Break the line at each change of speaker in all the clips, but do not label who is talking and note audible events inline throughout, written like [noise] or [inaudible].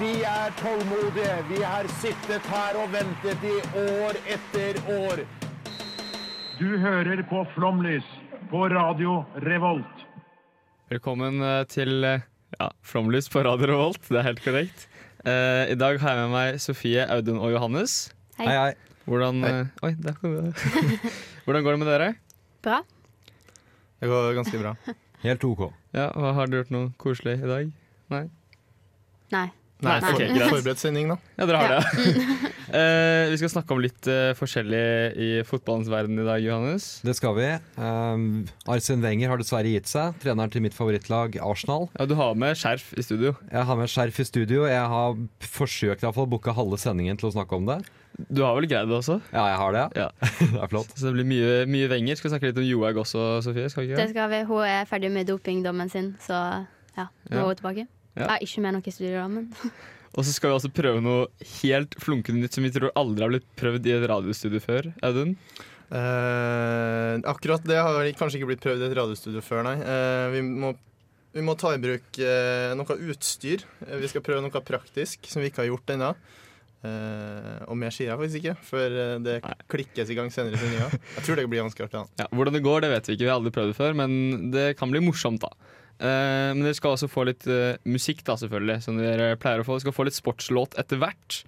Vi er tålmodige. Vi har sittet her og ventet i år etter år.
Du hører på Flomlys på Radio Revolt.
Velkommen eh, til eh, ja, Flomlys på Radio Revolt, det er helt korrekt. Eh, I dag har jeg med meg Sofie, Audun og Johannes.
Hei, hei.
Hvordan,
Hei.
eh, Oi, der kom det. [laughs] Hvordan går det med dere?
Bra.
Det går ganske bra. Helt OK.
Ja, hva Har dere gjort noe koselig i dag?
Nei.
Nei,
Nei, ok,
for,
greit.
forberedt sending, da.
Ja, dere har det. [laughs] ja. Eh, vi skal snakke om litt eh, forskjellig i fotballens verden i dag, Johannes.
Det skal vi. Um, Arsen Wenger har dessverre gitt seg. Treneren til mitt favorittlag, Arsenal.
Ja, Du har med skjerf i studio.
Jeg har med skjerf i studio. Jeg har forsøkt i hvert fall å booke halve sendingen til å snakke om det.
Du har vel greid det også?
Ja, jeg har det.
Ja.
Det er flott.
Så det blir mye, mye venger. Skal vi snakke litt om Johaug også, Sofie? Skal vi ikke?
Det skal vi. Hun er ferdig med dopingdommen sin, så ja, nå
Ja.
er hun tilbake.
Ja.
Jeg er ikke med noe i studierammen.
Og så skal vi også prøve noe helt flunkende nytt som vi tror aldri har blitt prøvd i et radiostudio før. Audun?
Eh, akkurat det har kanskje ikke blitt prøvd i et radiostudio før, nei. Eh, vi, må, vi må ta i bruk eh, noe utstyr. Eh, vi skal prøve noe praktisk som vi ikke har gjort ennå. Eh, og mer sier jeg faktisk ikke, før eh, det klikkes i gang senere i sendinga. Jeg tror det blir ganske artig. da.
Ja, hvordan det går, det vet vi ikke. Vi har aldri prøvd det før, men det kan bli morsomt, da. Eh, men dere skal også få litt eh, musikk, da, selvfølgelig, som dere pleier å få. Dere skal få litt sportslåt etter hvert.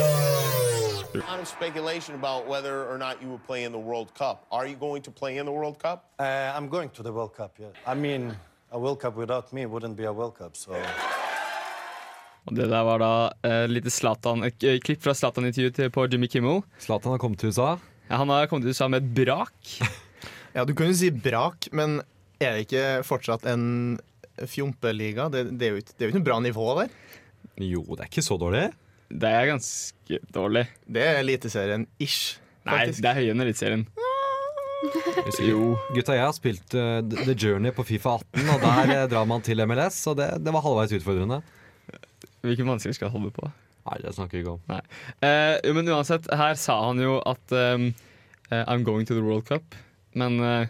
A lot of speculation about whether or not you will play in the World Cup. Are you going to play in the World Cup?
Uh, I'm going to the World Cup, yeah. I mean, a World Cup without me wouldn't be a World Cup, so.
Og det der var da eh, lite Zlatan, et eh, klipp fra Zlatan-intervjuet på Jimmy Kimmel.
Zlatan har kommet til USA.
Ja, han har kommet til USA med et brak.
[laughs] Ja, Du kan jo si brak, men er det ikke fortsatt en fjompeliga? Det, det, er jo ikke- det er jo ikke noe bra nivå der.
Jo, det er ikke så dårlig.
Det er ganske dårlig.
Det er Eliteserien-ish.
Nei,
faktisk.
det er høyere enn Eliteserien. Jo.
Gutta, jeg har spilt uh, The Journey på Fifa 18, og der eh, drar man til MLS, så det, det var halvveis utfordrende.
Hvilken vanskelig skal jeg holde på?
Nei, det snakker vi ikke om.
Eh, jo, men uansett, her sa han jo at ehm, eh, I'm going to the World Cup. Men eh,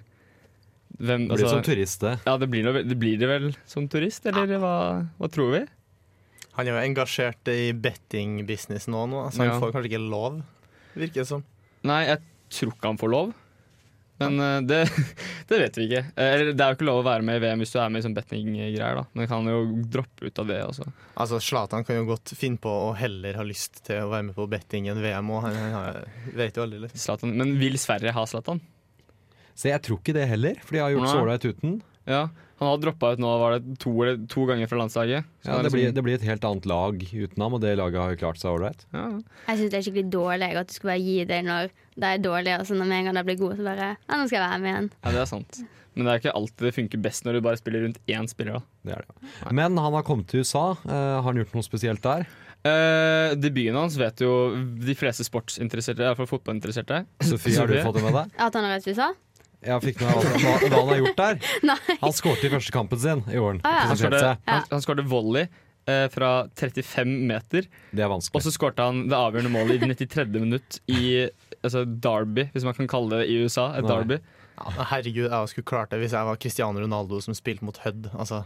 hvem altså
Det blir som turist, det.
Ja, det blir, noe, det blir det vel som turist, eller hva, hva tror vi?
Han er jo engasjert i bettingbusiness nå, nå så han
Ja.
får kanskje ikke lov, virker det som.
Nei, jeg tror ikke han får lov. Men eh, det, [laughs] det vet vi ikke. Eh, Eller det er jo ikke lov å være med i VM hvis du er med i sånn bettinggreier, da. Men kan jo droppe ut av det også.
Altså, Zlatan kan jo godt finne på å heller ha lyst til å være med på betting enn VM òg. Han, han har- vet jo aldri. Liksom.
Zlatan. Men vil Sverige ha Zlatan?
Se, jeg tror ikke det heller, for de har gjort
Nei.
så ålreit uten.
Ja. Han har droppa ut nå, var det to, eller, to ganger fra landslaget? Så
Ja,
han er
det, blir,
liksom-
det blir et helt annet lag uten ham, og det laget har jo klart seg ålreit.
ja.
Jeg syns det er skikkelig dårlig at du skal bare gi deg når de er dårlige, og så når med en gang de blir gode, så bare Ja, nå skal jeg være med igjen.
ja, det er sant. Men det er ikke alltid det funker best når du bare spiller rundt én spiller, da.
Det er det. Men han har kommet til USA. Eh, har han gjort noe spesielt
[laughs]
der?
Eh, debuten hans vet jo de fleste sportsinteresserte, iallfall fotballinteresserte.
Sofie, har du
Sofie?
fått det med deg?
At han har reist til USA?
Jeg fikk med meg hva, hva han har gjort der.
[laughs] Nei.
Han skåret i første kampen sin i åren.
Ah, ja.
Han
Presenterte
skårte,
seg.
han, han skårte volley eh, fra 35 meter,
Det er
og
vanskelig.
så skårte han det avgjørende målet i det 93. minutt i altså Derby, hvis man kan kalle det i USA. Et
Nei.
derby.
Herregud, jeg skulle klart det hvis jeg var Cristiano Ronaldo som spilte mot Hødd.
[laughs]
Altså.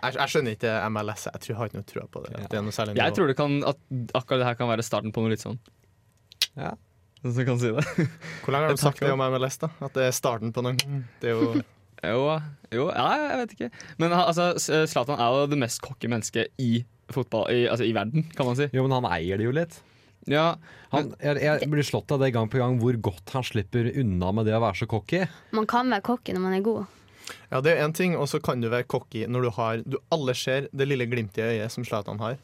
Jeg, jeg skjønner ikke MLS. Jeg tror jeg har ikke noe trua på det. At det er noe særlig
Jeg
nivå.
tror det kan, at akkurat det her kan være starten på noe litt sånn.
Ja.
Noen som kan si det.
Hvor lenge har
Jeg Mm.
de sagt
takker.
det om MLS? da? At det er starten på noe? Det er jo
[laughs] Jo, jo ja, jeg vet ikke. Men han- altså, S- Zlatan er jo det mest cocky mennesket i fotball, i, altså i verden, kan man si.
Jo, men han eier det jo litt.
Ja,
Han, jeg, jeg blir slått av det gang på gang hvor godt han slipper unna med det å være så cocky.
Man kan være cocky når man er god.
Ja, det er én ting, og så kan du være cocky når du har du, Alle ser det lille glimtet i øyet som Zlatan har.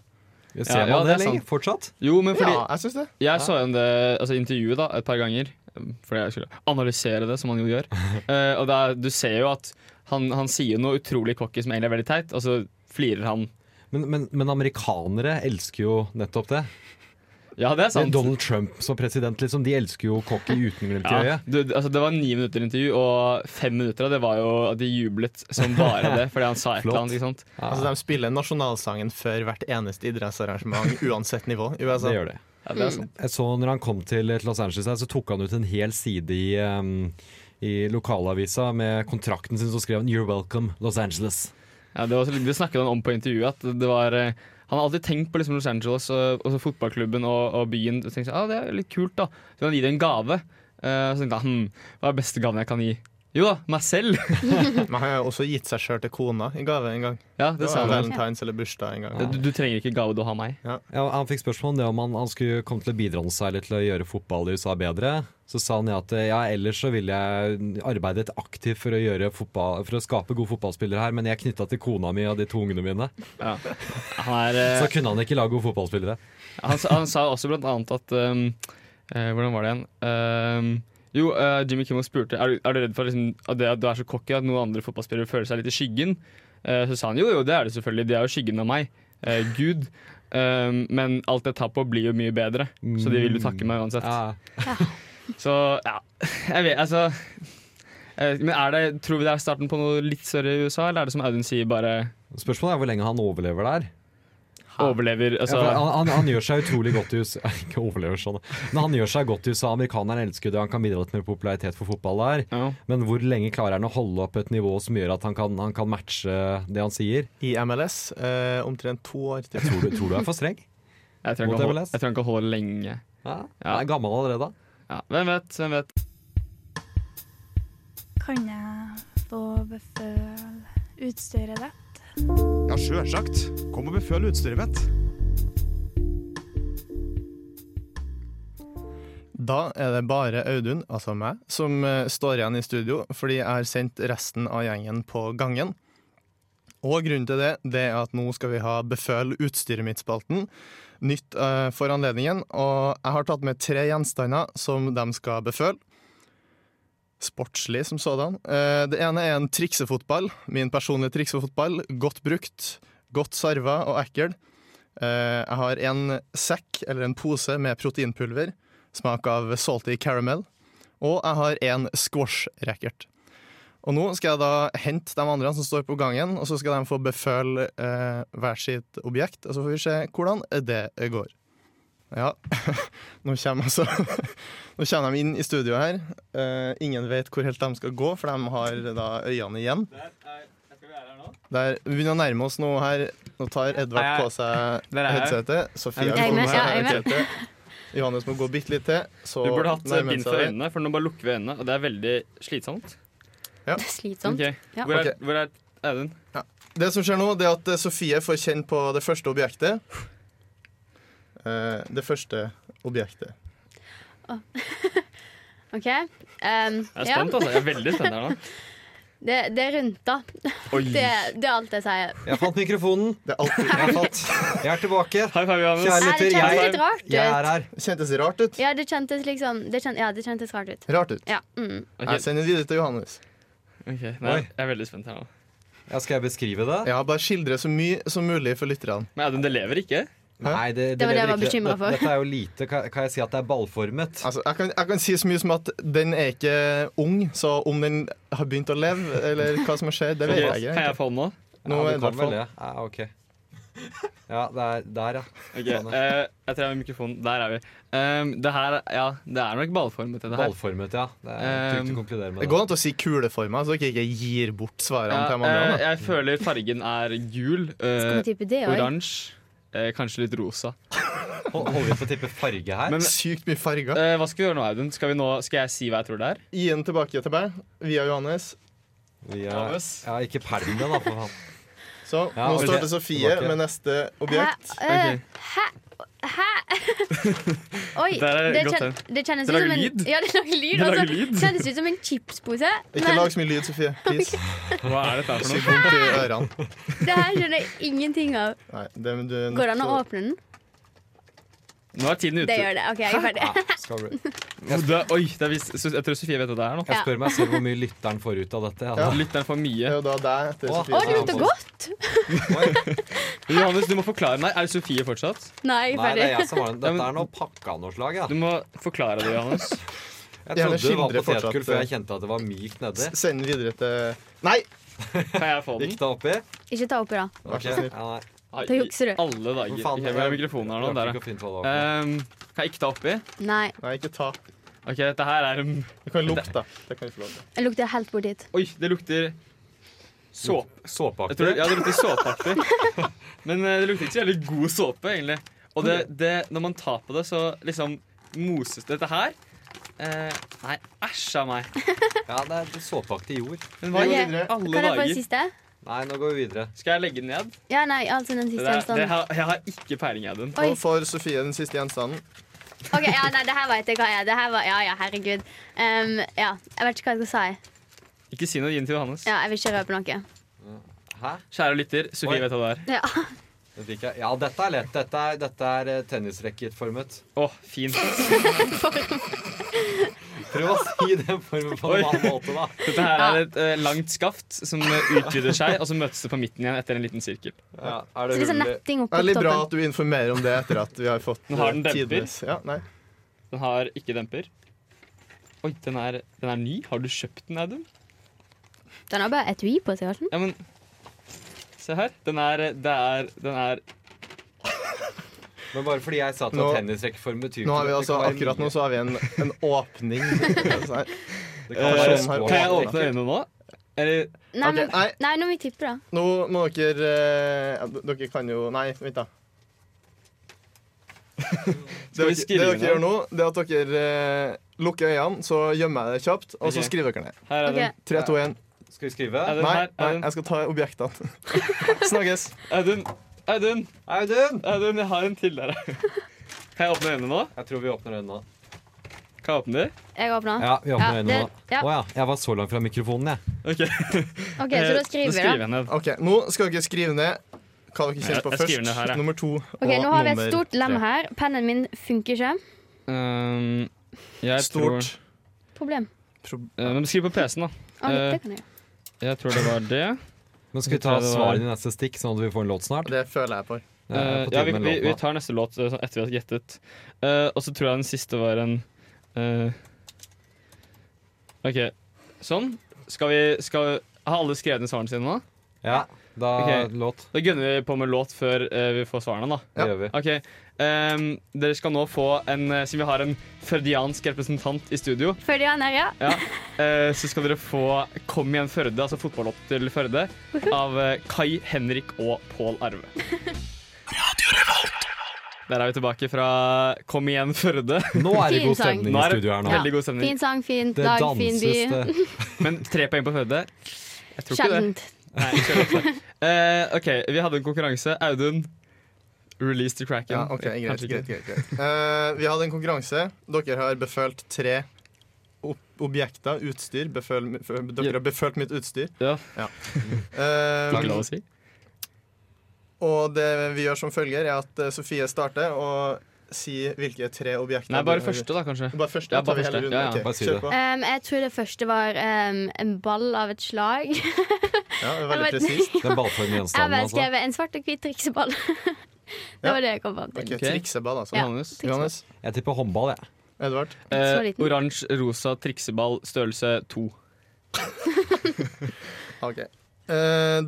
Ser
ja, det
man det,
er
lenger?
sant.
Fortsatt?
jo, men fordi
Ja, jeg syns det.
Jeg så igjen det altså intervjuet da, et par ganger, um, fordi jeg skulle analysere det, som han jo
[laughs]
gjør. Eh, og da, du ser jo at han, han sier noe utrolig cocky som egentlig er veldig teit, og så flirer han
Men, men, men amerikanere elsker jo nettopp det.
Ja, det er
det er
sant.
Donald Trump som president, liksom. De elsker jo
[laughs]
cocky uten glimt i
Ja,
øyet.
du, altså det var ni minutter intervju, og fem minutter av det var jo at de jublet som bare det fordi han sa et
Flott.
eller annet. ikke sant?
Altså, de spiller nasjonalsangen før hvert eneste
[laughs]
idrettsarrangement, uansett nivå. i USA.
Det gjør det.
Ja, det er
Mm.
sant.
Jeg så når han kom til til Los Angeles, her, så tok han ut en hel side i, um, i lokalavisa med kontrakten sin, så skrev han 'You're welcome, Los Angeles'.
Ja, det, var, så- det snakket han om på intervjuet. at det var... eh, Han har alltid tenkt på liksom Los Angeles og, og så fotballklubben og, og byen. Og tenkte, ah, det er litt kult da. Så han gir det en gave. Eh, så tenkte han hm, hva er beste gaven jeg kan gi? Jo da, meg selv! [laughs]
Men han har jo også gitt seg sjøl til kona i gave en gang.
Ja, det
Det
sa
var
han.
Valentines eller bursdag en gang.
Du, du trenger ikke gave, du har meg.
Ja, og han fikk spørsmål om det om han, han skulle komme til å bidra noe særlig til å gjøre fotball i USA bedre. Så sa han ja, at ja, ellers så ville jeg arbeidet aktivt for å, gjøre fotball, for å skape gode fotballspillere her, men jeg er knytta til kona mi og de to ungene mine.
Han er... eh,
Så kunne han ikke lage gode fotballspillere.
Han, sa- han sa også blant annet at um, eh, Hvordan var det igjen? Um, jo, eh, Jimmy Kimmel spurte Er du, er du redd for liksom, at, det, at du er så cocky at noen andre fotballspillere føler seg litt i skyggen. Eh, så sa han jo, jo, det er det selvfølgelig. De er jo skyggen av meg. eh, Gud. Um, men alt jeg tar på, blir jo mye bedre, så de vil jo takke meg uansett.
Ja.
Så ja, jeg vet altså eh, Men er det, tror vi det er starten på noe litt større i USA, eller er det som Audun sier, bare
Spørsmålet er hvor lenge han overlever der.
overlever?
Ja,
Altså,
for han, han, han gjør seg utrolig godt i USA [laughs] Ikke overlever sånn, men han gjør seg godt i USA. Amerikaneren elsker det, han kan bidra litt med popularitet for fotball der.
ja.
Men hvor lenge klarer han å holde opp et nivå som gjør at han kan, han kan matche det han sier?
I MLS eh, omtrent to år til.
Tror du, tror du er for streng?
Jeg tror han
Mot
kan hol-
MLS?
jeg tror han kan holde lenge.
Ja.
Ja.
Han er gammel allerede.
Ja, hvem vet, hvem vet.
Kan jeg få beføle utstyret ditt?
Ja, sjølsagt. Kom og beføl utstyret mitt.
Da er det bare Audun, altså meg, som eh, står igjen i studio, fordi jeg har sendt resten av gjengen på gangen. Og grunnen til det, det er at nå skal vi ha Beføl utstyret mitt-spalten. Nytt eh, for anledningen, og jeg har tatt med tre gjenstander som de skal beføle. Sportslig som sådan. Eh, Det ene er en triksefotball. Min personlige triksefotball. Godt brukt, godt sarva og ekkel. Eh, Jeg har en sekk, eller en pose, med proteinpulver smak av salty caramel, og jeg har en squash-racket. Og nå skal jeg da hente de andre som står på gangen, og så skal de få beføle eh, hver sitt objekt, og så får vi se hvordan det går. Ja, [laughs] nå kommer, altså, [laughs] nå kommer de inn i studio her. Eh, ingen vet hvor helt de skal gå, for de har da øynene igjen. Der, vi begynner å nærme oss noe her. Nå tar Edvard på seg
Der er jeg.
headsetet. Sofia
Jeg
er
kommer
med, ja,
seg
jeg er med.
headsetet. Johannes må gå bitte litt til. Så
Du burde hatt eh,
nærmer han
bind
seg
for
deg.
øynene, for nå bare lukker vi øynene, og det er veldig slitsomt.
Det er slitsomt.
Ok,
Ja.
Hvor, er,
Ok.
hvor er Audun?
Det som skjer nå, det er at eh, Sofie får kjenne på det første objektet. Eh, det første objektet.
OK. Um,
Jeg er
ja.
spent, altså. Jeg er veldig spent her nå.
Det, det er rundt, da.
Oi.
[laughs] Det, det er alt jeg sier.
Jeg fant mikrofonen!
Det er alltid,
[laughs]
Jeg, fant. jeg er tilbake!
High five, Johannes.
Kjærlighet.
Ja, det
Jeg-
kjentes litt rart
Jeg er
ut.
her.
kjentes rart ut.
Ja, det kjentes liksom det kjent, Ja, det kjentes rart ut.
Rart ut.
Ja. Mm.
Ok,
Jeg sender den videre til Johannes.
ok, Nei,
Oi.
jeg er veldig spent her nå.
Ja, skal jeg beskrive det?
Ja, Bare skildre så mye som mulig for lytterne.
Men Audun, det lever ikke?
Nei, det,
Det var det jeg
lever
var
ikke.
bekymret for.
Dette er jo lite, kan, kan jeg si at det er ballformet?
Altså, jeg, kan, jeg kan si så mye som at den er ikke ung, så om den har begynt å leve, eller hva som har skjedd, det
Ok,
vet jeg
Kan
ikke.
jeg få den nå?
ja,
Nå er
du kan vel
det i hvert fall.
det. Ja, ok. Ja, det er der, ja.
Ok, eh, Jeg tror jeg har mikrofonen. Der er vi. Um, det her, ja, det er nok ballformet til det her.
Ballformet, ja. Det er trygt å
Um,
konkludere med
Ehm, Det
det.
går an å si kuleforma, så dere ikke gir bort svarene
Ja,
til de andre.
eh, jeg føler fargen er gul,
Skal
eh,
vi tippe det òg?
oransje, eh, kanskje litt rosa.
Hold- Holder vi på å tippe farge her?
da. Sykt mye farger.
Eh, hva skal vi gjøre nå, Audun? Skal, vi nå, skal jeg si hva jeg tror det er?
Gi den tilbake til meg via Johannes.
Vi er,
Johannes?
ja, ikke pælm det, da, for faen.
Så
Ja,
nå
ok.
står det Sofie
Tilbake.
med neste
Hæ?
objekt.
øh, Hæ?
[laughs]
Hæ? Oi,
Der er
det,
godt
kjen, det kjennes
Det
ut som
lager
en
lyd.
Ja, det lager lyd.
Det
og
lager
så
lyd.
kjennes ut som en chipspose.
Ikke
Men
lag så mye lyd, Sofie. Please.
Hva er dette her for [laughs]
Så
noe?
vondt i ørene.
[laughs] Altså,
det her skjønner jeg ingenting av.
Nei, det, men du,
Går det an å åpne den?
Nå er tiden ute.
Det gjør det. OK, jeg er ferdig.
Jeg spør, oi, det er visst, jeg tror Sofie vet hva det er nå.
Jeg spør
meg selv hvor mye lytteren får ut av dette.
Ja. Lytteren får mye.
Å, det lukter godt!
Johannes, du må forklare meg. Er det Sofie fortsatt?
Nei, jeg er
Nei,
ferdig.
det er jeg som har den.
Ja, men-
Dette er noe pakka av noe slag. Ja.
Du må forklare det, Johannes.
Jeg trodde det var
skildre fortsatt,
potetgull før jeg
eh,
kjente at det var mykt nedi.
S- Send den videre til Nei!
Kan jeg få den?
Gikk det oppi?
Ikke ta oppi, da.
Ok,
snill.
Ja, nei.
Ai,
Da jukser du.
i Alle dager.
Men faen,
Ok, hvor er mikrofonen her nå?
klarte
Der,
ikke
ja.
å finne hva det var.
Ehm, kan jeg ikke ta oppi?
Nei.
Nei, ikke ta.
Ok, dette her er um,
Du kan lukte, da. Det kan vi få lov til.
Jeg lukter helt bort hit.
Oi, det lukter såpe. Jeg tror,
Såpeaktig.
ja, det lukter såpeaktig. Men eh, det lukter ikke så jævlig god såpe, egentlig. Og det, det, når man tar på det, så liksom moses det. Dette her eh, Nei, æsj av meg.
Ja, det er såpeaktig jord.
Men hva i alle
Ok, Kan jeg få en
dager?
siste?
Nei, nå går vi videre.
Skal jeg legge den ned?
Ja, nei, altså den
Det
siste
der, det
gjenstanden.
har, jeg har ikke peiling, Audun.
Oi.
Nå får Sofie den siste gjenstanden.
Ok, ja, nei, det her vet jeg hva er. Det her var, ja, ja, herregud. Ehm, ja, jeg vet ikke hva jeg skal si.
Ikke si noe inn til Johannes.
Ja, jeg vil ikke røpe noe.
Hæ?
Kjære lytter, Sofie
Oi.
vet hva det er.
Ja.
Det fikk jeg. Ja, dette er lett. Dette er, dette er eh, tennisracketformet.
Å, fint.
Prøv å si den formen på
Oi.
en annen måte, da.
Dette her er et eh, langt skaft som eh, utvider seg, og så møtes det på midten igjen etter en liten sirkel.
Ja, er
Så
det
litt sånn
hull i
netting opp
Det
på
er litt bra
toppen.
at du informerer om det etter at vi har fått
Den har
eh,
den demper.
tidenes- Ja, nei.
Den har ikke demper. Oi, den er, den er ny. Har du kjøpt den, Audun?
Den har bare etui på seg, har den?
Ja, men Se her. Den er eh, Det er Den er
Men bare fordi jeg sa at
Nå-
tennisracketform betyr
Nå har vi
ikke
altså,
at det kan være
akkurat nå
mye.
så har vi
[laughs]
en, en åpning. Sånn her.
[laughs] Det
Eh,
kan være
sånn her.
små
Kan jeg
åpninger.
åpne øynene nå? Eller
Nei, men,
Nei,
nei, nå må vi tippe, da.
nå må dere eh, ja, d- Dere kan jo Nei, vent, da.
Skal vi
Dere-
skrive
Det dere
ned?
gjør nå, det er at dere eh, lukker øynene, så gjemmer jeg det kjapt, og så
Ok.
skriver dere ned.
Her er
Ok,
den.
3, 2, 1.
Skal vi skrive?
Er det-
Nei,
her,
nei,
den?
jeg skal ta objektene. [laughs] Snakkes.
Audun. Audun,
Audun!
Audun, jeg har en til der. [laughs] Kan jeg åpne øynene nå?
Jeg tror vi åpner øynene nå.
Kan jeg åpne dem?
jeg åpner.
Ja, vi åpner øynene
det-
nå.
ja.
Å ja, jeg var så langt fra mikrofonen, jeg.
OK.
OK, så da skriver vi, da.
Eh, jeg ned.
Ok, Nå skal dere skrive ned hva dere kjenner på
Jeg- jeg skriver
først.
ned her, jeg.
Nummer to
OK,
og
nå har vi et
nummer
stort lem
tre.
her. Pennen min funker ikke.
Um, jeg tror
Stort.
Problem.
Pro-
Eh, Men skriv på PC-en, da.
Å,
Eh,
det kan jeg gjøre.
Jeg tror det var det.
[laughs] Men skal vi ta svarene i neste stikk, sånn at vi får en låt snart?
Det føler jeg for.
Det er på
Eh, ja, vi,
tide med en
vi,
låt
vi
nå.
tar neste låt eh, sånn etter vi har gjettet. Eh, og så tror jeg den siste var en eh, OK. Sånn. Skal vi skal, Har alle skrevet ned svarene sine nå?
Ja, da
Ok.
låt.
Da gunner vi på med låt før eh, vi får svarene, da.
Det
Ja.
gjør
[laughs]
vi.
OK. ehm, dere skal nå få en eh, Siden vi har en førdiansk representant i studio,
Følg igjen her, ja.
ja, eh, så skal dere få Kom igjen Førde, altså fotballåt til Førde, av eh, Kai Henrik og Pål Arve. Der er vi tilbake fra Kom igjen Førde. [laughs]
Nå er det
Fin
god
sang.
stemning
Nå
i
er det-
studio her nå.
Ja.
Veldig god stemning.
Fin sang, fin
Det
dag, fin by.
danses, eh, det.
Men tre poeng på Førde? Jeg tror ikke det.
Sjeldent.
Nei, jeg tror ikke det. Eh, OK, vi hadde en konkurranse. Audun, release the cracken.
Ja, ok, greit,
Kanskje ikke.
greit, greit, greit. Eh, Vi hadde en konkurranse. Dere har befølt tre ob- objekter, utstyr. Beføl, beføl,
Ja.
dere har befølt mitt utstyr.
Ja.
Eh,
Ikke lov å si.
og det vi gjør som følger, er at eh, Sofie starter og sier hvilke tre objekter
Nei, bare
dere har-
første, da, kanskje.
Bare første?
Ja,
tar
bare
vi hele
første.
runden.
Ja, ja,
Ok,
bare si
kjør
det.
på.
Ehm, jeg tror det første var ehm, en ball av et slag.
Ja, det er veldig
Jeg vet-
presist.
Den ballformen
[laughs] Jeg har
gjenstanden,
bare
altså.
skrevet en svart og hvit trikseball. [laughs] det var det jeg kom fram til.
Ok, trikseball, altså.
Ja.
Johannes.
Johannes?
altså. Jeg tipper håndball, jeg.
Edvard?
Så
Eh,
liten.
Oransje, rosa trikseball, størrelse to.
OK. Eh,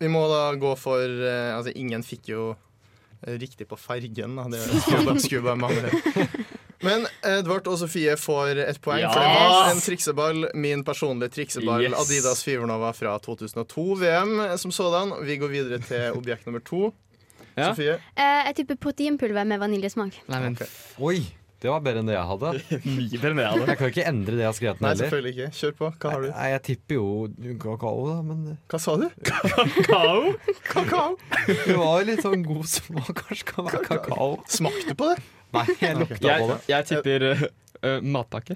vi må da gå for eh, Altså, ingen fikk jo riktig på fargen, da. Det skulle bare, skulle bare mangle. Men eh, Edvard og Sofie får et poeng. For det var
Yes!
en trikseball, min personlige trikseball,
Yes.
Adidas Fivernova fra 2002-VM som sådan. Vi går videre til objekt nummer to.
Ja.
Sofie?
Eh, jeg tipper proteinpulver med vaniljesmak.
Nei, men
Ok.
Oi, det var bedre enn det jeg hadde.
mye bedre enn det jeg hadde.
Jeg kan jo ikke endre det jeg har skrevet
Nei,
ned heller.
selvfølgelig ikke. Kjør på. Hva har du?
Nei, jeg tipper jo kakao, da, men
Hva sa du?
[laughs] Kakao?
Kakao!
det var jo litt sånn god smak. Kanskje kan være kakao.
Smakte du på det?
Nei, jeg lukta på
Jeg,
det.
jeg tipper eh, eh, matpakke.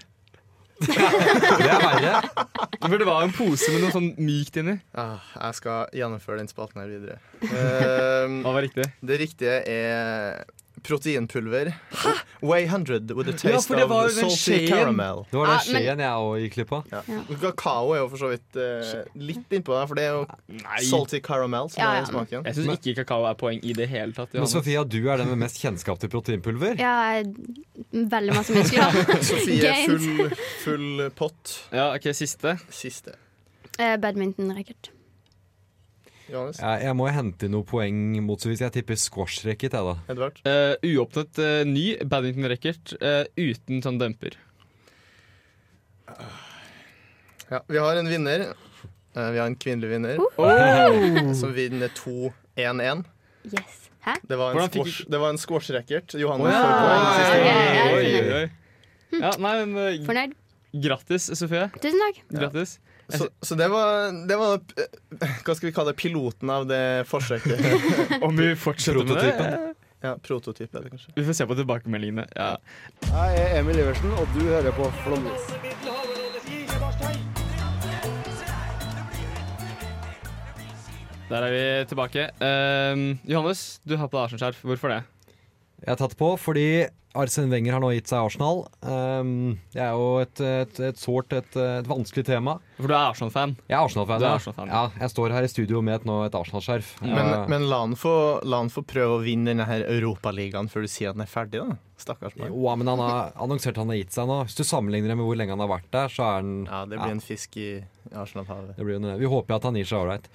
Det er verre.
For det var en pose med noe sånn mykt inni.
Ah, jeg
[laughs]
skal gjennomføre den spalten her videre. Eh,
Hva var riktig?
Det riktige er proteinpulver. Way 100 with a
Ja,
taste
for det var
of
jo den
salty
skjeen.
caramel.
Det var den skjeen jeg òg gikk glipp av.
Ja. Kakao er jo for så vidt eh, litt innpå der, for det er jo salty caramel som er
[laughs]
smaken.
Jeg syns ikke kakao er poeng i det hele tatt.
Men
Johannes.
Sofia, du er den med mest kjennskap til proteinpulver.
Ja, veldig masse
[laughs]
muskler.
Sofie,
Gains.
full, full pott.
sånn- Ja, ok, Siste.
Siste.
Eh, Badminton-racket.
Johannes?
Ja, jeg må hente inn noen poeng mot så hvis jeg tipper squash-racket. jeg, da.
Edvard?
Eh, uåpnet eh, ny badminton-racket eh, uten sånn demper.
Ja, vi har en vinner. Eh, Vi har en kvinnelig vinner
Uh.
som vinner 2-1-1.
Yes. Hæ?
Det var en
Hvordan fikk-
squash- det var en squash-racket. Johannes
Wow.
får poeng. Siste
Oi,
gang.
oi,
Oi, oi, oi. Ja, nei, men eh,
Fornøyd?
Grattis, Sofie.
Tusen takk.
Grattis.
Så, så det var, det var eh, Hva skal vi kalle det? Piloten av det
[laughs]
forsøket.
Om vi fortsetter med det?
Prototypen.
Ja, Prototyp, er det kanskje.
Vi får se på tilbakemeldingene. Ja.
Jeg er Emil Iversen, og du hører på Flåmlys.
Der er vi tilbake. Eh, Johannes, du har på deg Arsenal-skjerf. Hvorfor det?
Jeg har tatt på fordi Arsen Wenger har nå gitt seg Arsenal. Um, det er jo et, et, et sårt, et, et vanskelig tema.
For du er Arsenal-fan.
Jeg er Arsenal-fan.
Du er
ja.
Arsenal-fan.
ja, jeg står her i studio med et, nå et Arsenal-skjerf. Eh,
Men,
Ja.
men la, han få, la han få prøve å vinne denne her Europaligaen før du sier at han er ferdig, da. Stakkars mann.
Jo, ja, men han har annonsert han har gitt seg nå. Hvis du sammenligner det med hvor lenge han har vært der, så er han
Ja, det
Ja.
blir en fisk i Arsenal-havet.
Det blir jo det. Vi håper jo at han gir seg ålreit.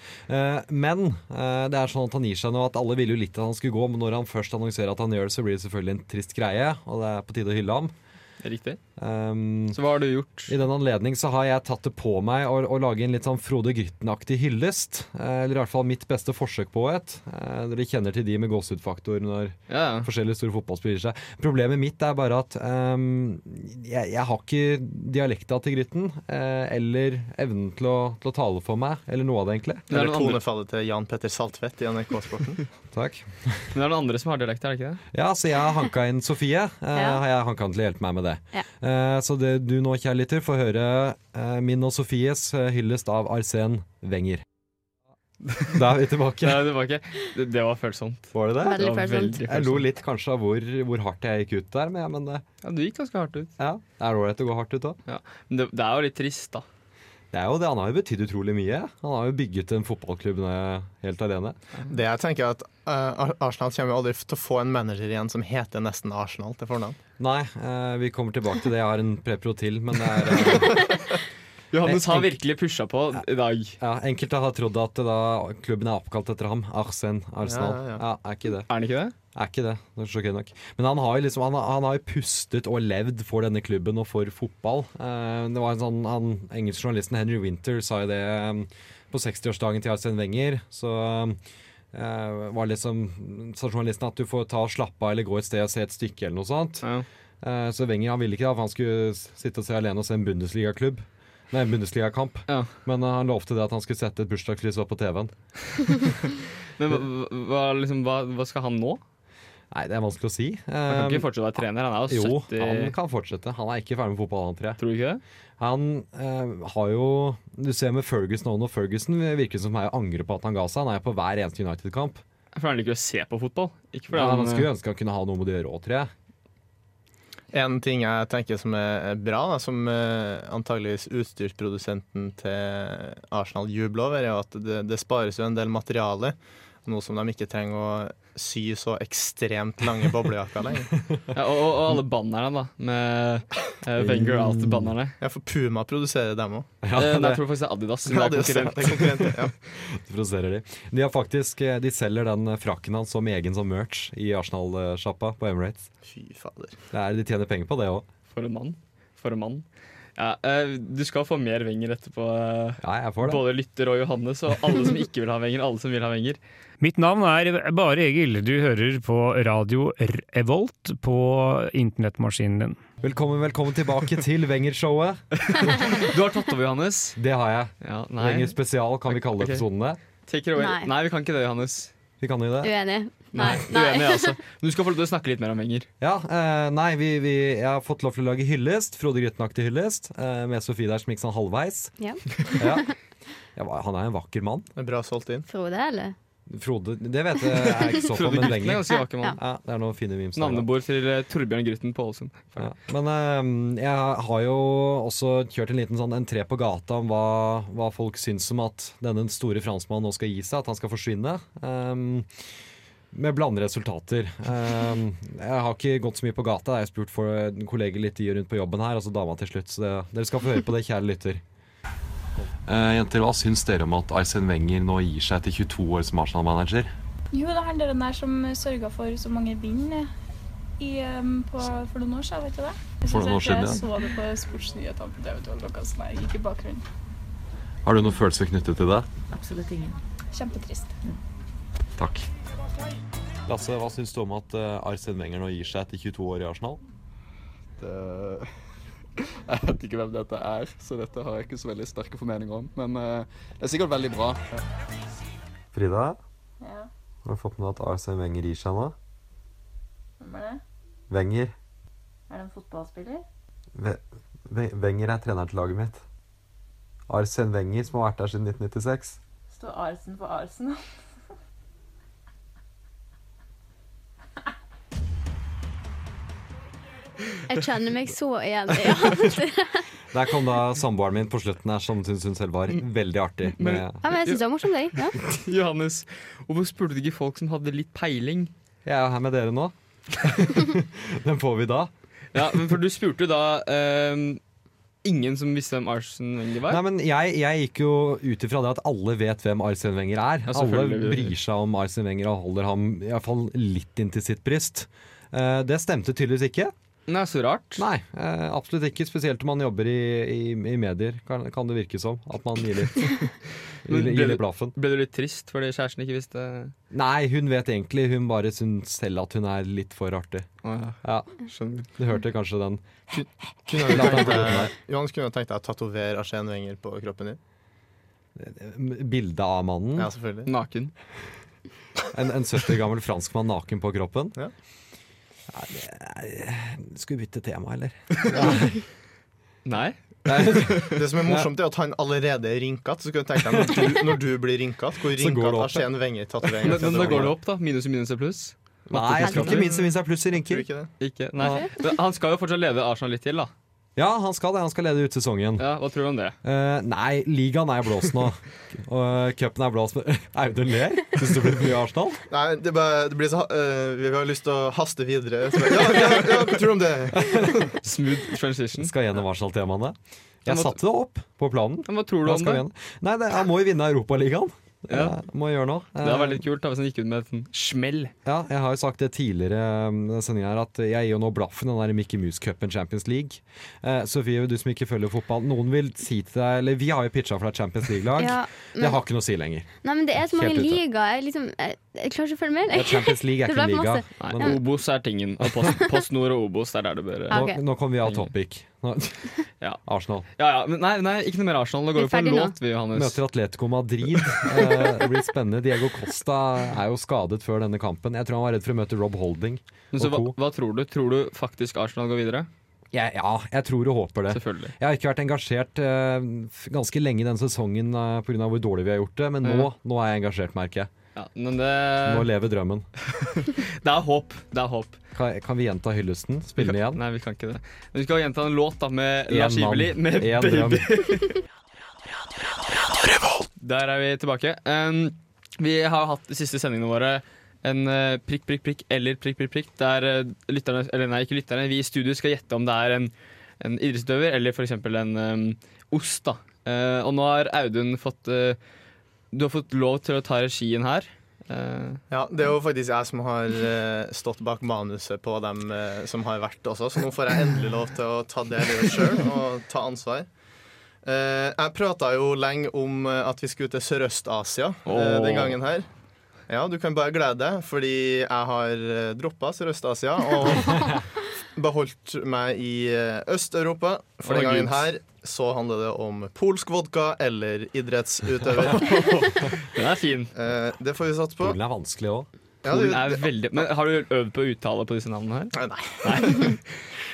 men eh, det er sånn at han gir seg nå at alle ville jo litt at han skulle gå, men når han først annonserer at han gjør det, så blir det selvfølgelig en trist greie, og det er på tide å hylle ham.
Riktig.
Ehm,
Så hva har du gjort?
I den anledning så har jeg tatt det på meg å, å lage en litt sånn Frode Grytten-aktig hyllest. eh, eller i hvert fall mitt beste forsøk på et. Eh, dere kjenner til de med gåsehudfaktor når
Ja.
forskjellige store fotballspillere seg. Problemet mitt er bare at ehm, jeg, jeg har ikke dialekta til Grytten, eh, eller evnen til å, til å tale for meg, eller noe av det, egentlig.
Men det er
Eller
noen andre,
tonefallet til Jan Petter Saltvedt i NRK-sporten.
Takk.
men det er noen andre som har dialekt, er det ikke det?
Ja, så jeg har hanka inn Sofie. Eh,
Ja.
Har jeg hanka inn til å hjelpe meg med det.
Ja.
Eh, så det du nå, kjærligheter, får høre eh, min og Sofies eh, hyllest av Arsen Wenger. Da er vi tilbake.
Nei, det var ikke. Det, det var følsomt.
[laughs] Var det det?
Veldig
Det var
følsomt.
Jeg lo litt kanskje av hvor, hvor hardt jeg gikk ut der, men, ja, men det,
Ja, du gikk ganske hardt ut.
ja, det er ålreit å gå hardt ut òg.
Men det, det er jo litt trist, da.
Det er jo det, Han har jo betydd utrolig mye. Han har jo bygget den fotballklubben eh, helt alene.
[laughs] Det jeg tenker er at eh, Ar- Arsenal kommer jo aldri til å få en manager igjen som heter nesten Arsenal til fornavn.
Nei, eh, vi kommer tilbake til det. Jeg har en prepro til, men det er eh,
Johannes har virkelig pusha på i dag.
ja, Enkelte har trodd at eh, da, klubben er oppkalt etter ham. Arsen Arsenal.
Ja,
Ja,
ja, ja.
er ikke det.
Er han ikke det?
Er ikke det. det er sjokkerende nok. Men han har jo liksom, han, han har jo pustet og levd for denne klubben og for fotball. Eh, det var en sånn, han, engelsk journalisten Henry Winter sa jo det eh, på 60-årsdagen til Arsene Wenger. Så eh, var liksom, sa journalisten at du får ta og slappe av eller gå et sted og se et stykke eller noe sånt.
Ja.
Eh, så Wenger han ville ikke det, for han skulle s- sitte og se alene og se en Bundesliga-klubb. Nei, en Bundesliga-kamp.
Ja.
Men eh, han lovte det at han skulle sette et bursdagskryss opp på TV-en.
Men hva- hva, liksom, hva, hva skal han nå?
Nei, det er vanskelig å si.
Han kan
Eh,
ikke fortsette å være trener. Han er jo
jo,
70
han kan fortsette. Han er ikke ferdig med fotball, han, tror jeg.
Tror du ikke det?
Han eh, har jo Du ser med Ferguson og nå Ferguson virker som han angrer på at han ga seg. Han er på hver eneste United-kamp.
For han liker å se på fotball. Ikke fordi
Ja,
han, eh,
man skulle ønske han kunne ha noe med det å gjøre òg, tror jeg.
En ting jeg tenker som er er bra, da, som eh, antageligvis utstyrsprodusenten til Arsenal jubler over, er jo at det, det spares jo en del materiale. Noe som de ikke trenger å sy så ekstremt lange
[laughs]
boblejakker lenger.
ja, og, og og alle bannerne, da. Med eh, Wenger Out-bannerne.
Ja, for Puma produserer dem òg.
Ja,
Eh, nei,
det
jeg tror faktisk det er Adidas. som
Ja,
er
det er
konkurrent.
konkurrent. [laughs] Ja.
produserer de. De har faktisk eh, De selger den eh, frakken hans som egen som merch i Arsenal-sjappa på Emirates.
Fy fader.
Det er, de tjener penger på det òg.
For en mann. For en mann. Ja, eh, du skal få mer Wenger etterpå. eh,
Ja, jeg får det.
Både lytter og Johannes, og alle som ikke vil ha Wenger. Alle som vil ha Wenger.
Mitt navn er Bare Egil. Du hører på radio Revolt på internettmaskinen din.
Velkommen, velkommen tilbake til Wenger-showet.
Du har tatt over, Johannes.
Det har jeg.
Ja, nei.
Wenger spesial kan vi kalle
Ok.
episodene.
Take it away. Nei.
Nei.
vi kan ikke det, Johannes.
Vi kan jo det.
Uenig. Nei.
Uenig, altså. Men du skal få lov til å snakke litt mer om Wenger.
Ja, eh, nei, vi, vi, jeg har fått lov til å lage hyllest. Frode Grytten-aktig hyllest. eh, med Sofie der som gikk sånn halvveis.
Ja.
Ja. Ja, hva- han er en vakker mann.
Det er bra solgt inn.
Frode, eller?
Frode Det vet jeg jeg ikke så på,
Frode
men
Grytten er
lenger.
ganske vaken mann.
Ja, det er noen fine memes der, da.
Navnebord til eh, Torbjørn Grytten på Ålesund.
Ja. Men eh, jeg har jo også kjørt en liten sånn entré på gata om hva, hva folk syns om at denne store franskmannen nå skal gi seg, at han skal forsvinne. Ehm, med blandede resultater. Ehm, jeg har ikke gått så mye på gata. Jeg har spurt for kolleger litt i og rundt på jobben her, og så dama til slutt. Så det, dere skal få høre på det, kjære lytter. Eh, jenter, hva syns dere om at Arsen Wenger nå gir seg etter 22 år som Arsenal-manager?
Jo, det er han der den der som sørga for så mange bind i, um, på, for noen år siden, vet du det? Jeg
For
synes
noen år
at jeg
siden, ja.
så det på sportsnyhetene på TV 2 eller noe sånt. Jeg gikk i bakgrunnen.
Har du noen følelser knyttet til det? Mm.
Absolutt ingen. Kjempetrist.
Takk. Lasse, hva syns du om at eh, Arsene Wenger nå gir seg etter 22 år i Arsenal?
[laughs] Jeg vet ikke hvem dette er, så dette har jeg ikke så veldig sterke formeninger om. Men eh, det er sikkert veldig bra.
Frida,
Ja,
har du fått med deg at Arsene Wenger gir seg nå?
hvem er det?
Wenger.
Er det en fotballspiller?
Ve- Ve- Wenger er treneren til laget mitt. Arsene Wenger, som har vært der siden 1996.
Står Arsen for Arsenal?
Jeg kjenner meg så igjen i alt.
Der kom da samboeren min på slutten her, som syns hun selv var veldig artig.
Men-
Ja, men jeg syns det var morsomt, jeg. Ja.
[laughs] Johannes, hvorfor spurte du ikke folk som hadde litt peiling?
Jeg er jo her med dere nå. Den får vi da.
Ja, men for du spurte jo da ehm, ingen som visste hvem Arsen Wenger var?
Nei, men jeg, jeg gikk jo ut ifra det at alle vet hvem Arsene Wenger er.
Ja,
alle
selvfølgelig.
bryr seg om Arsene Wenger og holder ham i hvert fall litt inntil sitt bryst. Eh, det stemte tydeligvis ikke.
Nei, så rart.
Nei, eh, absolutt ikke. Spesielt om man jobber i, i, i medier, kan, kan det virke som. At man gir
[laughs]
litt,
Men
gir,
ble
gir
du-
litt blaffen.
Ble du litt trist fordi kjæresten ikke visste
Nei, hun vet egentlig. Hun bare syns selv at hun er litt for artig. ja. Du hørte kanskje den
Kunne jeg
Latteren
tenkt
på
deg,
slutten der.
Johannes, kunne jeg tenkt deg å tatovere Arsène Wenger på kroppen din?
Bildet av mannen.
Ja, selvfølgelig.
Naken.
En, en 70 år gammel franskmann naken på kroppen.
Ja.
Nei, det er- Skal vi bytte tema, eller?
Nei.
Det som er morsomt, er at han allerede er rinket. Så skulle jeg tenke deg når du, når du blir rinket, hvor
Så går det
rinket
opp, ja.
Arsène Wenger-tatovering
Men, men da går det opp, da. Minus i minus er pluss.
Nei, jeg tror ikke minst minst er pluss i rynker.
Ikke det.
Ikke, nei. Men han skal jo fortsatt lede Arsenal litt til, da.
Ja, han skal det. Han skal lede ut sesongen.
Ja, Hva tror du om det?
Eh, nei, ligaen er blåst nå. Og eh, cupen er blåst. [laughs] Audun ler. Syns du det blir for mye Arsenal?
Nei, det, bare, det blir så, eh, Vi har lyst til å haste videre. Så bare, Ja, ja, ja, hva tror du om det?
Smooth transition.
Skal gjennom Arsenal-temaene.
Ja,
Jeg
men-
satte det opp på planen.
Men hva tror du
Da
om
skal vi
det?
gjennom. Nei, det, han må jo vinne Europaligaen.
Ja.
Eh, Må gjøre noe.
Det hadde vært litt kult da, hvis han gikk ut med et sånn smell.
Ja, jeg har jo sagt det tidligere um, denne sendingen her at jeg gir jo nå blaffen i den der Mickey Mouse-cupen Champions League. Eh, Sofie, du som ikke følger fotball, noen vil si til deg Eller vi har jo pitcha for deg Champions League-lag.
[laughs] Ja, men-
Det har ikke noe å si lenger.
Nei, men det er så mange
Helt ute.
ligaer. Jeg, liksom, jeg, jeg klarer ikke å følge med.
Ja, Champions
[laughs]
League er
Det
ikke en
ble
liga.
masse.
Nei,
Men-
Obos er tingen. Og
[laughs]
post, PostNord og Obos, det er der det bør
Ok.
Nå, nå kommer vi av topic. Nå,
Ja.
[laughs] Arsenal.
Ja, ja, men nei, nei, ikke noe mer Arsenal. Nå
Vi
går
er
vi på en
ferdig nå.
låt, vi, Johannes.
Møter Atletico Madrid. Eh, Det blir spennende. Diego Costa er jo skadet før denne kampen. Jeg tror han var redd for å møte Rob Holding.
Men så
og
hva,
co.
hva tror du? Tror du faktisk Arsenal går videre?
Jeg, ja, jeg tror og håper det.
Selvfølgelig.
Jeg har ikke vært engasjert eh, f- ganske lenge i den sesongen eh, på grunn av hvor dårlig vi har gjort det, men nå,
Ja. Eh.
nå er jeg engasjert, merker jeg.
Ja, men det,
Nå lever drømmen.
det er håp. Det er håp.
Kan, kan vi gjenta hyllesten? Spille den igjen?
Nei, vi kan ikke det. Men vi skal gjenta en låt da med
En
Lars Iveli
mann,
med
en
Baby.
drøm.
Der er vi tilbake. Um, vi har hatt de siste sendingene våre en eh, prikk, prikk, prikk eller prikk, prikk, prikk, der eh, lytterne, eller nei, ikke lytterne, vi i studio skal gjette om det er en, en idrettsutøver eller f.eks. en em, ost. da. Eh, og nå har Audun fått eh, Du har fått lov til å ta regien her. Eh,
Ja, Det er jo faktisk jeg som har eh, stått bak manuset på dem eh, som har vært også, så nå får jeg endelig lov til å ta del i det sjøl og ta ansvar. Eh, jeg prata jo lenge om eh, at vi skulle til Sørøst-Asia eh, den
Åh.
gangen her. Ja, du kan bare glede deg, fordi jeg har droppa Sørøst-Asia
[laughs]
og beholdt meg i eh, Øst-Europa. For
Åh,
den gangen
Gud.
her så handler det om polsk vodka eller idrettsutøver.
[laughs]
den er fin.
Eh, det får vi satt på.
Polen er vanskelig òg.
Ja,
Polen
det-
er veldig, men har du øvd på å uttale på disse navnene her?
Nei.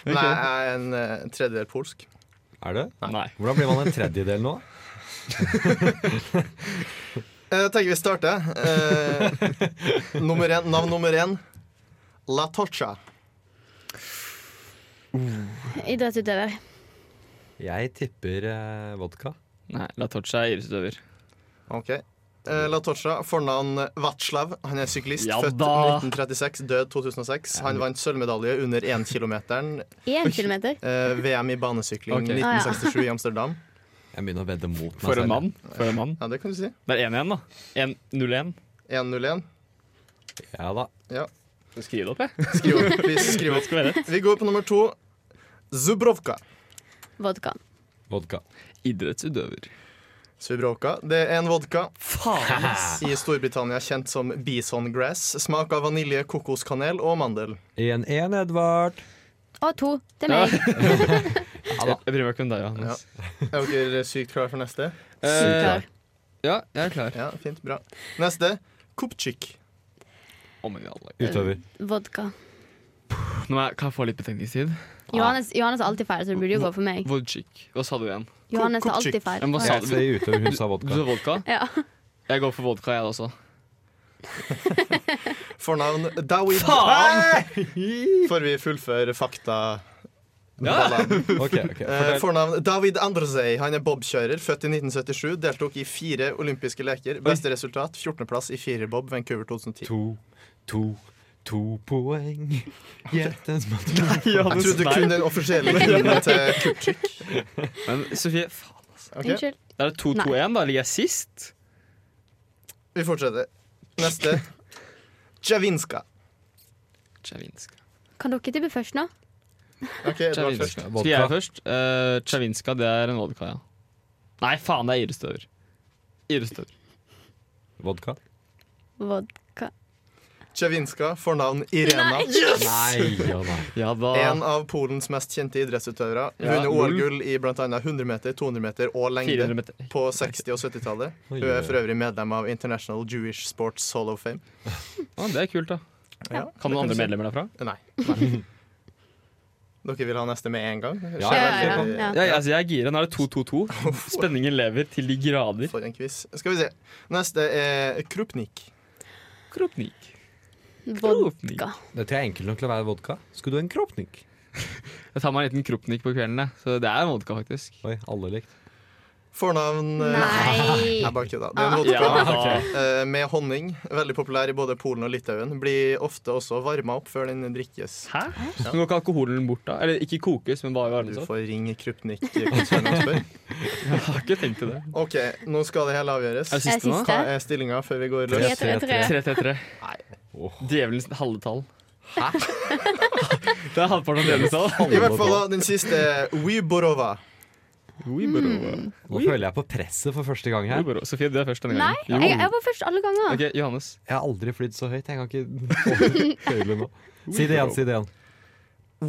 Ok.
[laughs] Nei, jeg er en eh, tredjedel polsk.
Er det?
Nei.
Hvordan blir man en tredjedel nå?
Jeg tenker vi starter. Eh, [laughs] nummer én, navn nummer én. La Tocha.
[laughs] Idrettsutøver.
Jeg tipper eh, vodka.
Nei, La Tocha er idrettsutøver.
Ok. Eh, La Tocha, fornavn Vatslav. Han er syklist,
Ja
født
da.
1936, død 2006. Han vant sølvmedalje under 1 kilometeren
Én kilometer.
eh, VM i banesykling
Ok.
1967 i Amsterdam.
Jeg begynner å vedde mot meg
For en
selv.
mann. For en mann.
Ja, det kan du si.
Det er 1-1, da. 1 0-1.
1-0-1.
Ja da.
[laughs]
Ja.
Skriv det opp, jeg.
Skriv opp. Vi, skriver
Skal være
opp. vi går på nummer to. Zubrovka.
Vodka.
Vodka.
Idrettsutøver.
Zubrovka. Det er en vodka
Faen, ass.
[laughs] i Storbritannia kjent som bison grass. Smak av vanilje, kokoskanel og mandel.
1-1, Edvard.
Og to til meg.
Jeg jeg bryr meg ikke om deg, Johannes.
Er dere sykt klare for neste?
Eh, ja, jeg er klar.
Ja, fint, bra. Neste. Kupchik.
Oh my god.
Utøver.
Vodka.
Nå er, kan jeg få litt betenkningstid?
Johannes, Johannes er alltid feil, så det burde jo gå for meg.
Vodchik. Hva sa du igjen?
Johannes er alltid feil.
Men hva Eh, sa
Jeg sier utøver, hun sa
[laughs]
vodka.
Du sa vodka?
Ja. [laughs]
Jeg går for vodka, jeg også.
Fornavn Dawid.
Faen!
Får vi fullføre fakta?
Ja. [laughs]
Balladen.
Ok, ok.
Eh, Fornavn David Androzej. Han er bobkjører, født i 1977. Deltok i fire olympiske leker. Beste resultat 14.plass i firerbob Vancouver 2010.
To, to, to poeng. Gjett en smak
Jeg trodde kun den offisielle grunnen til
[laughs]
Kupchik.
Men Sofie, faen, altså.
Ok. Unnskyld.
Da er det 2-2-1, da ligger jeg sist.
Vi fortsetter. Neste. Javinska.
Chavinska.
Kan dere tippe først nå?
Ok, Edvard først.
Chavinska. Skal jeg først? Uh, Chavinska, det er en vodka, ja. Nei, faen, det er irestøver. Irestøver. [laughs]
Vodka.
Vodka.
Javinska, fornavn Irena.
Nei, yes!
Nei og nei.
Ja da.
En av Polens mest kjente idrettsutøvere.
Ja,
Vunnet
lol.
OL-gull i bl.a. 100 meter, 200 meter og lengde
400 meter.
på 60- og 70-tallet.
Oi,
Hun er
oi,
for øvrig medlem av International Jewish Sports Hall of Fame.
Ja, det er kult, da.
Ja,
kan
det
noen andre
du si.
medlemmer derfra?
Nei. Dere vil ha neste med en gang?
Ja, ja, ja. altså, jeg er gira. Nå er det
[laughs]
2-2-2. Spenningen lever til de grader.
For en quiz. Skal vi se. Neste er Krupnik.
Krupnik.
Vodka.
Dette er enkelt nok til å være vodka. Skulle du en kropnik?
Jeg tar meg en liten krupnik på kveldene, så det er en vodka, faktisk.
Oi, alle likt.
Fornavn eh,
Nei.
[laughs]
Ah.
Jeg bare kødda. Det er en vodka [laughs]
Ja,
eh, med honning. Veldig populær i både Polen og Litauen. Blir ofte også varma opp før den drikkes.
Hæ? Så Går ikke alkoholen bort da? Eller ikke kokes, men bare varmes
Du
opp?
får ringe Krupnik-konsernet og
[laughs]
spørre.
Jeg har ikke tenkt til det.
OK, nå skal det hele avgjøres.
Er det siste nå?
Hva er stillinga før vi går løs?
3-3-3.
3-3-3. Djevelens halve tall. Hæ? [laughs] Det er halvparten av djevelens tall.
I hvert fall da, den siste er Wyborova.
Hmm.
Mm.
Nå føler jeg på presset for første gang her.
Sofie, du er først denne
Nei,
gangen.
jeg, jeg var først alle ganger.
Ok, Johannes.
Jeg har aldri flydd så høyt. Jeg kan ikke [laughs] føle nå. Si det igjen, si det igjen.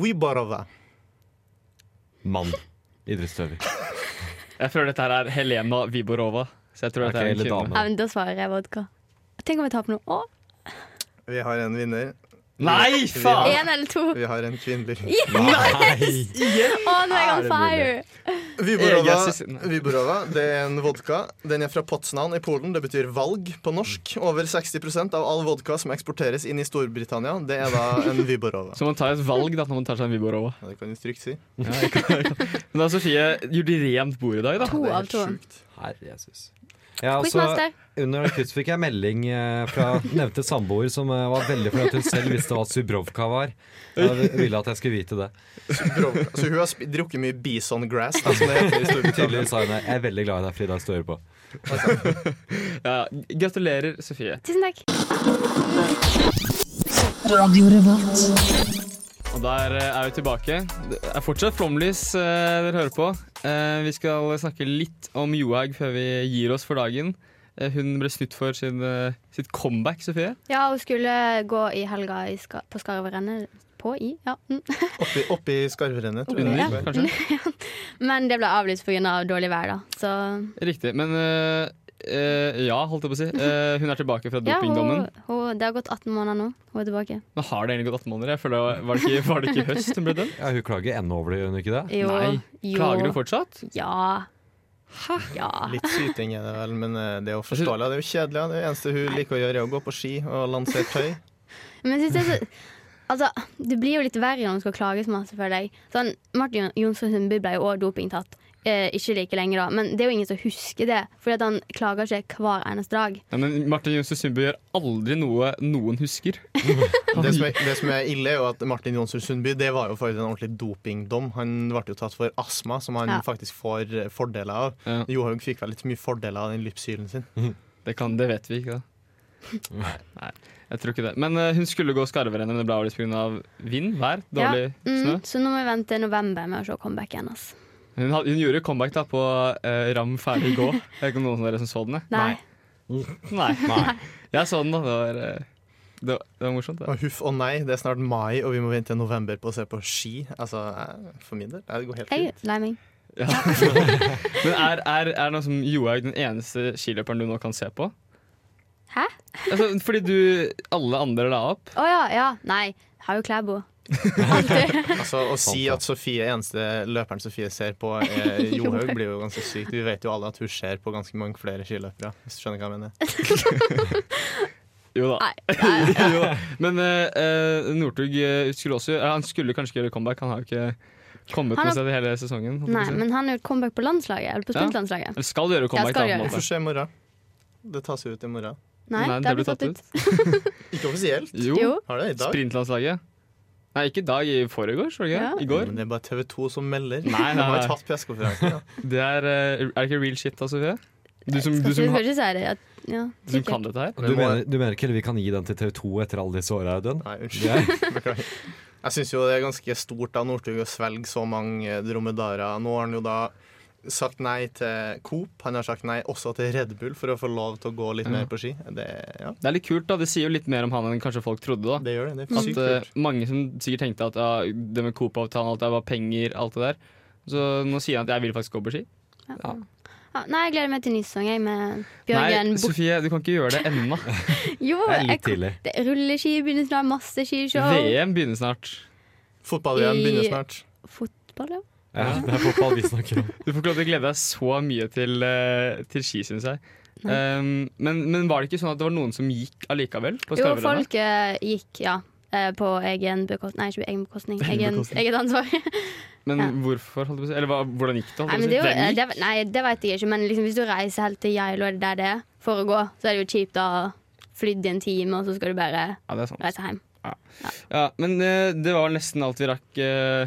Wyborova.
Mann.
[laughs]
Idrettsutøver.
Jeg føler dette her er Helena Viborova. Så jeg tror
Ok,
dette er en
eller
kvinne.
dame.
Ja, men da svarer jeg vodka. Tenk om jeg taper nå. Å,
Vi har en vinner.
Nei, faen!
én eller to.
Vi har en kvinnelig.
Å, nå er jeg on fire.
Vyborova,
Jeg synes- nei.
Vyborova det er en vodka. Den er fra Potsnan i Polen. Det betyr valg på norsk. Over 60 av all vodka som eksporteres inn i Storbritannia, det er da en
[laughs]
Vyborova.
Så man tar et valg da når man tar seg en Viborova.
Ja, det kan du trygt si.
Ja, jeg kan- jeg kan. Men da, Sofie, gjorde de rent bord i dag, da?
To
Det er
av
helt
to.
sjukt.
Herre Jesus. Jeg har også,
Quizmaster.
under quiz fikk jeg melding eh, fra nevnte samboer som eh, var veldig fornøyd at hun selv visste hva Zubrovka var. Jeg ville at jeg skulle vite det.
Bro- Altså, hun har sp- drukket mye bison grass, da, som det heter i Storbritannia.
Tydeligvis sa hun det. Jeg er veldig glad i deg, Frida Støre på.
Ja, gratulerer, Sofie.
Tusen takk.
Og der eh, er vi tilbake. Det er fortsatt flomlys eh, dere hører på. Eh, vi skal snakke litt om Johaug før vi gir oss for dagen. Eh, hun ble snytt for sin, eh, sitt comeback, Sofie.
Ja, hun skulle gå i helga i ska på Skarverennet. På i, ja. Mm.
Oppi, oppi skarverennet, tror
Under,
jeg. det er.
kanskje.
Men det ble avlyst pga. Av dårlig vær, da. Så
Riktig. Men eh, eh, ja, holdt jeg på å si. Eh, hun er tilbake fra
ja, hun,
dopingdommen.
hun, det har gått 18 måneder nå. Hun er tilbake.
Nå har det egentlig gått 18 måneder. Jeg føler, det var- var, det ikke, var det ikke i høst hun ble dømt?
Ja, hun klager ennå over det, gjør hun ikke det?
Jo.
Nei.
Jo.
Klager hun fortsatt?
Ja. Hæ? Ja.
Litt syting er det vel, men eh, det er jo forståelig. Det er jo kjedelig. ja. Det eneste hun liker å gjøre, er å gå på ski og lansere tøy.
Men jeg synes det er så Altså, det blir jo litt verre når man skal klage så masse, føler jeg. Sånn, Martin Jonsson Sundby ble jo også dopingtatt. Eh, ikke like lenge, da. Men det er jo ingen som husker det. Fordi at han klager ikke hver eneste dag.
Ja, men Martin Jonsrud Sundby gjør aldri noe noen [laughs] husker.
Det som, er, det som er ille, er jo at Martin Jonsrud Sundby Det var jo faktisk en ordentlig dopingdom. Han ble jo tatt for astma, som han
Ja.
faktisk får eh, fordeler av. Johaug fikk vel litt mye fordeler av den lypsylen sin.
Det, kan, det vet vi ikke, da. Nei, nei, jeg tror ikke det. Men eh, hun skulle gå skarverennet, men det ble litt pga. vind, vær, dårlig
ja. mm,
snø.
Så nå må vi vente til november med å se comebacken hennes.
Hun, had, hun gjorde comeback da på eh, Ram ferdig gå. Jeg vet ikke om noen av dere som så den? jeg?
Nei.
Nei.
[laughs]
Jeg så den, da. Det var, eh, det var, det var morsomt. Det.
Og huff og nei, det er snart mai, og vi må vente til november på å se på ski. Altså, eh, For min del. eh, Det går helt
Jeg
fint.
er lei meg.
Ja. Men er, er, er nå som Johaug den eneste skiløperen du nå kan se på?
Hæ?
Altså, fordi du Alle andre la opp.
Å ja, ja. Nei. Jeg Har jo Klæbo.
Altså, Å
Sånn,
si at Sofie eneste løperen Sofie ser på, er
[laughs]
Johaug, blir jo ganske sykt. Vi vet jo alle at hun ser på ganske mange flere skiløpere, hvis du skjønner hva jeg mener.
Jo da. [laughs] jo da. Men uh, Northug eh, skulle også ja, Han skulle kanskje gjøre comeback. Han har jo ikke kommet
Han
noe
har-
sted i hele sesongen. holdt jeg på å
Nei,
si.
men han har gjort comeback på landslaget. Eller på
Ja.
stuntlandslaget.
Eller skal gjøre comeback,
Ja,
da.
skal
på en
gjøre.
måte.
Det får skje i morgen. Det tas jo ut i morgen.
Nei, det har blitt tatt ut.
Ikke offisielt?
Jo.
Jo.
Har det i dag?
Sprintlandslaget. Nei, ikke i dag. I forgårs, var det ikke?
Ja.
I går.
Men det er bare TV2 som melder.
Nei, nei,
De har
nei.
tatt pressekonferansen. ja.
Det er, eh, er det ikke real shit da, Sofie? Du som,
Skal
du
ikke-
som,
skal
har-
ikke si det. At, ja,
du som
sikkert.
kan dette her?
Du mener, du mener ikke heller vi kan gi den til TV 2 etter alle disse åra, Audun?
Nei,
Det-
unnskyld. [laughs] Beklager. Jeg syns jo det er ganske stort av Northug å svelge så mange eh, dromedarer. Nå har han jo da sagt nei til Coop, han har sagt nei også til Red Bull for å få lov til å gå litt
Ja.
mer på ski. Det, ja.
Det er litt kult, da. Det sier jo litt mer om han enn kanskje folk trodde. da
Det gjør det. Det er sykt
At eh,
kult.
Mange som sikkert tenkte at ja, det med Coop-avtalen alt det var penger, alt det der. Så nå sier han at jeg vil faktisk gå på ski.
Ja, Ah, nei, jeg gleder meg til ny sesong, jeg, med
Nei,
Bjørgen Bo-
[laughs] Sofie, du kan ikke gjøre det ennå.
Jo,
Det er litt
jeg kan-
tidlig.
Det er rulleski i begynnelsen av masse skishow.
VM begynner snart.
Fotball-VM
I-
begynner snart.
Fotball, ja.
Ja, det er fotball vi snakker om.
Du får ikke lov til å glede deg så mye til, eh, til ski, syns jeg. Um, men, men var det ikke sånn at det var noen som gikk allikevel? På
Jo,
skarverennet?
folk eh, gikk, ja. eh, På egen bekostning Nei, ikke egen bekostning. Egen,
Bekostning.
eget ansvar.
Men hvorfor? Holdt jeg på å si? Eller hva, hvordan gikk det? holdt
Nei,
jeg på
men det,
å
er
si?
jo, eh,
Hvem
det, nei, det vet jeg ikke, men liksom, hvis du reiser helt til Geilo eller der det er, for å gå, så er det jo kjipt å flydd i en time, og så skal du bare
Ja, det er sant.
reise hjem.
gikk? Ja, men eh, det var nesten alt vi rakk. eh,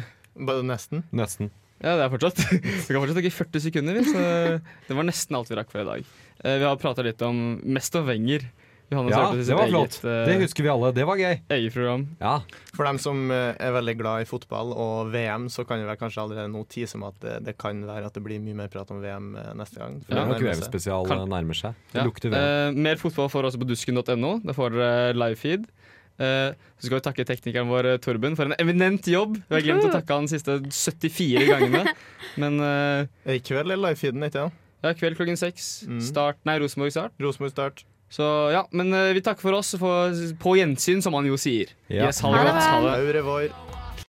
nesten?
Nesten.
Ja, det er fortsatt. [laughs] Vi kan fortsatt ikke 40 sekunder, vi. Så det var nesten alt vi rakk for i dag. Eh, vi har prata litt om mest om Wenger. Johannes
Ja,
hørte sitt
det var
eget,
flott.
eh,
Det husker vi alle. Det var gøy.
Eget program.
Ja.
For dem som eh, er veldig glad i fotball og VM, så kan vi vel kanskje allerede nå tease om at det, det kan være at det blir mye mer prat om VM eh, neste gang. For
Det er nok
nærmer seg.
VM-spesial
Kan-
nærmer seg. Det
Ja.
lukter VM.
Eh, mer fotball får dere også på dusken.no. Der får dere livefeed. Eh, så skal vi takke teknikeren vår eh, Torben for en eminent jobb. Vi har glemt å takke han de siste 74 [laughs] gangene. Men eh,
I kveld er livefeeden, ikke sant?
Ja, kveld klokken seks.
Mm.
Start Nei, Rosenborg start.
Rosenborg start.
Så ja, men eh, vi takker for oss. For, på gjensyn, som han jo sier.
Ja.
Yes, ha det godt. Ha det.
Aure vår.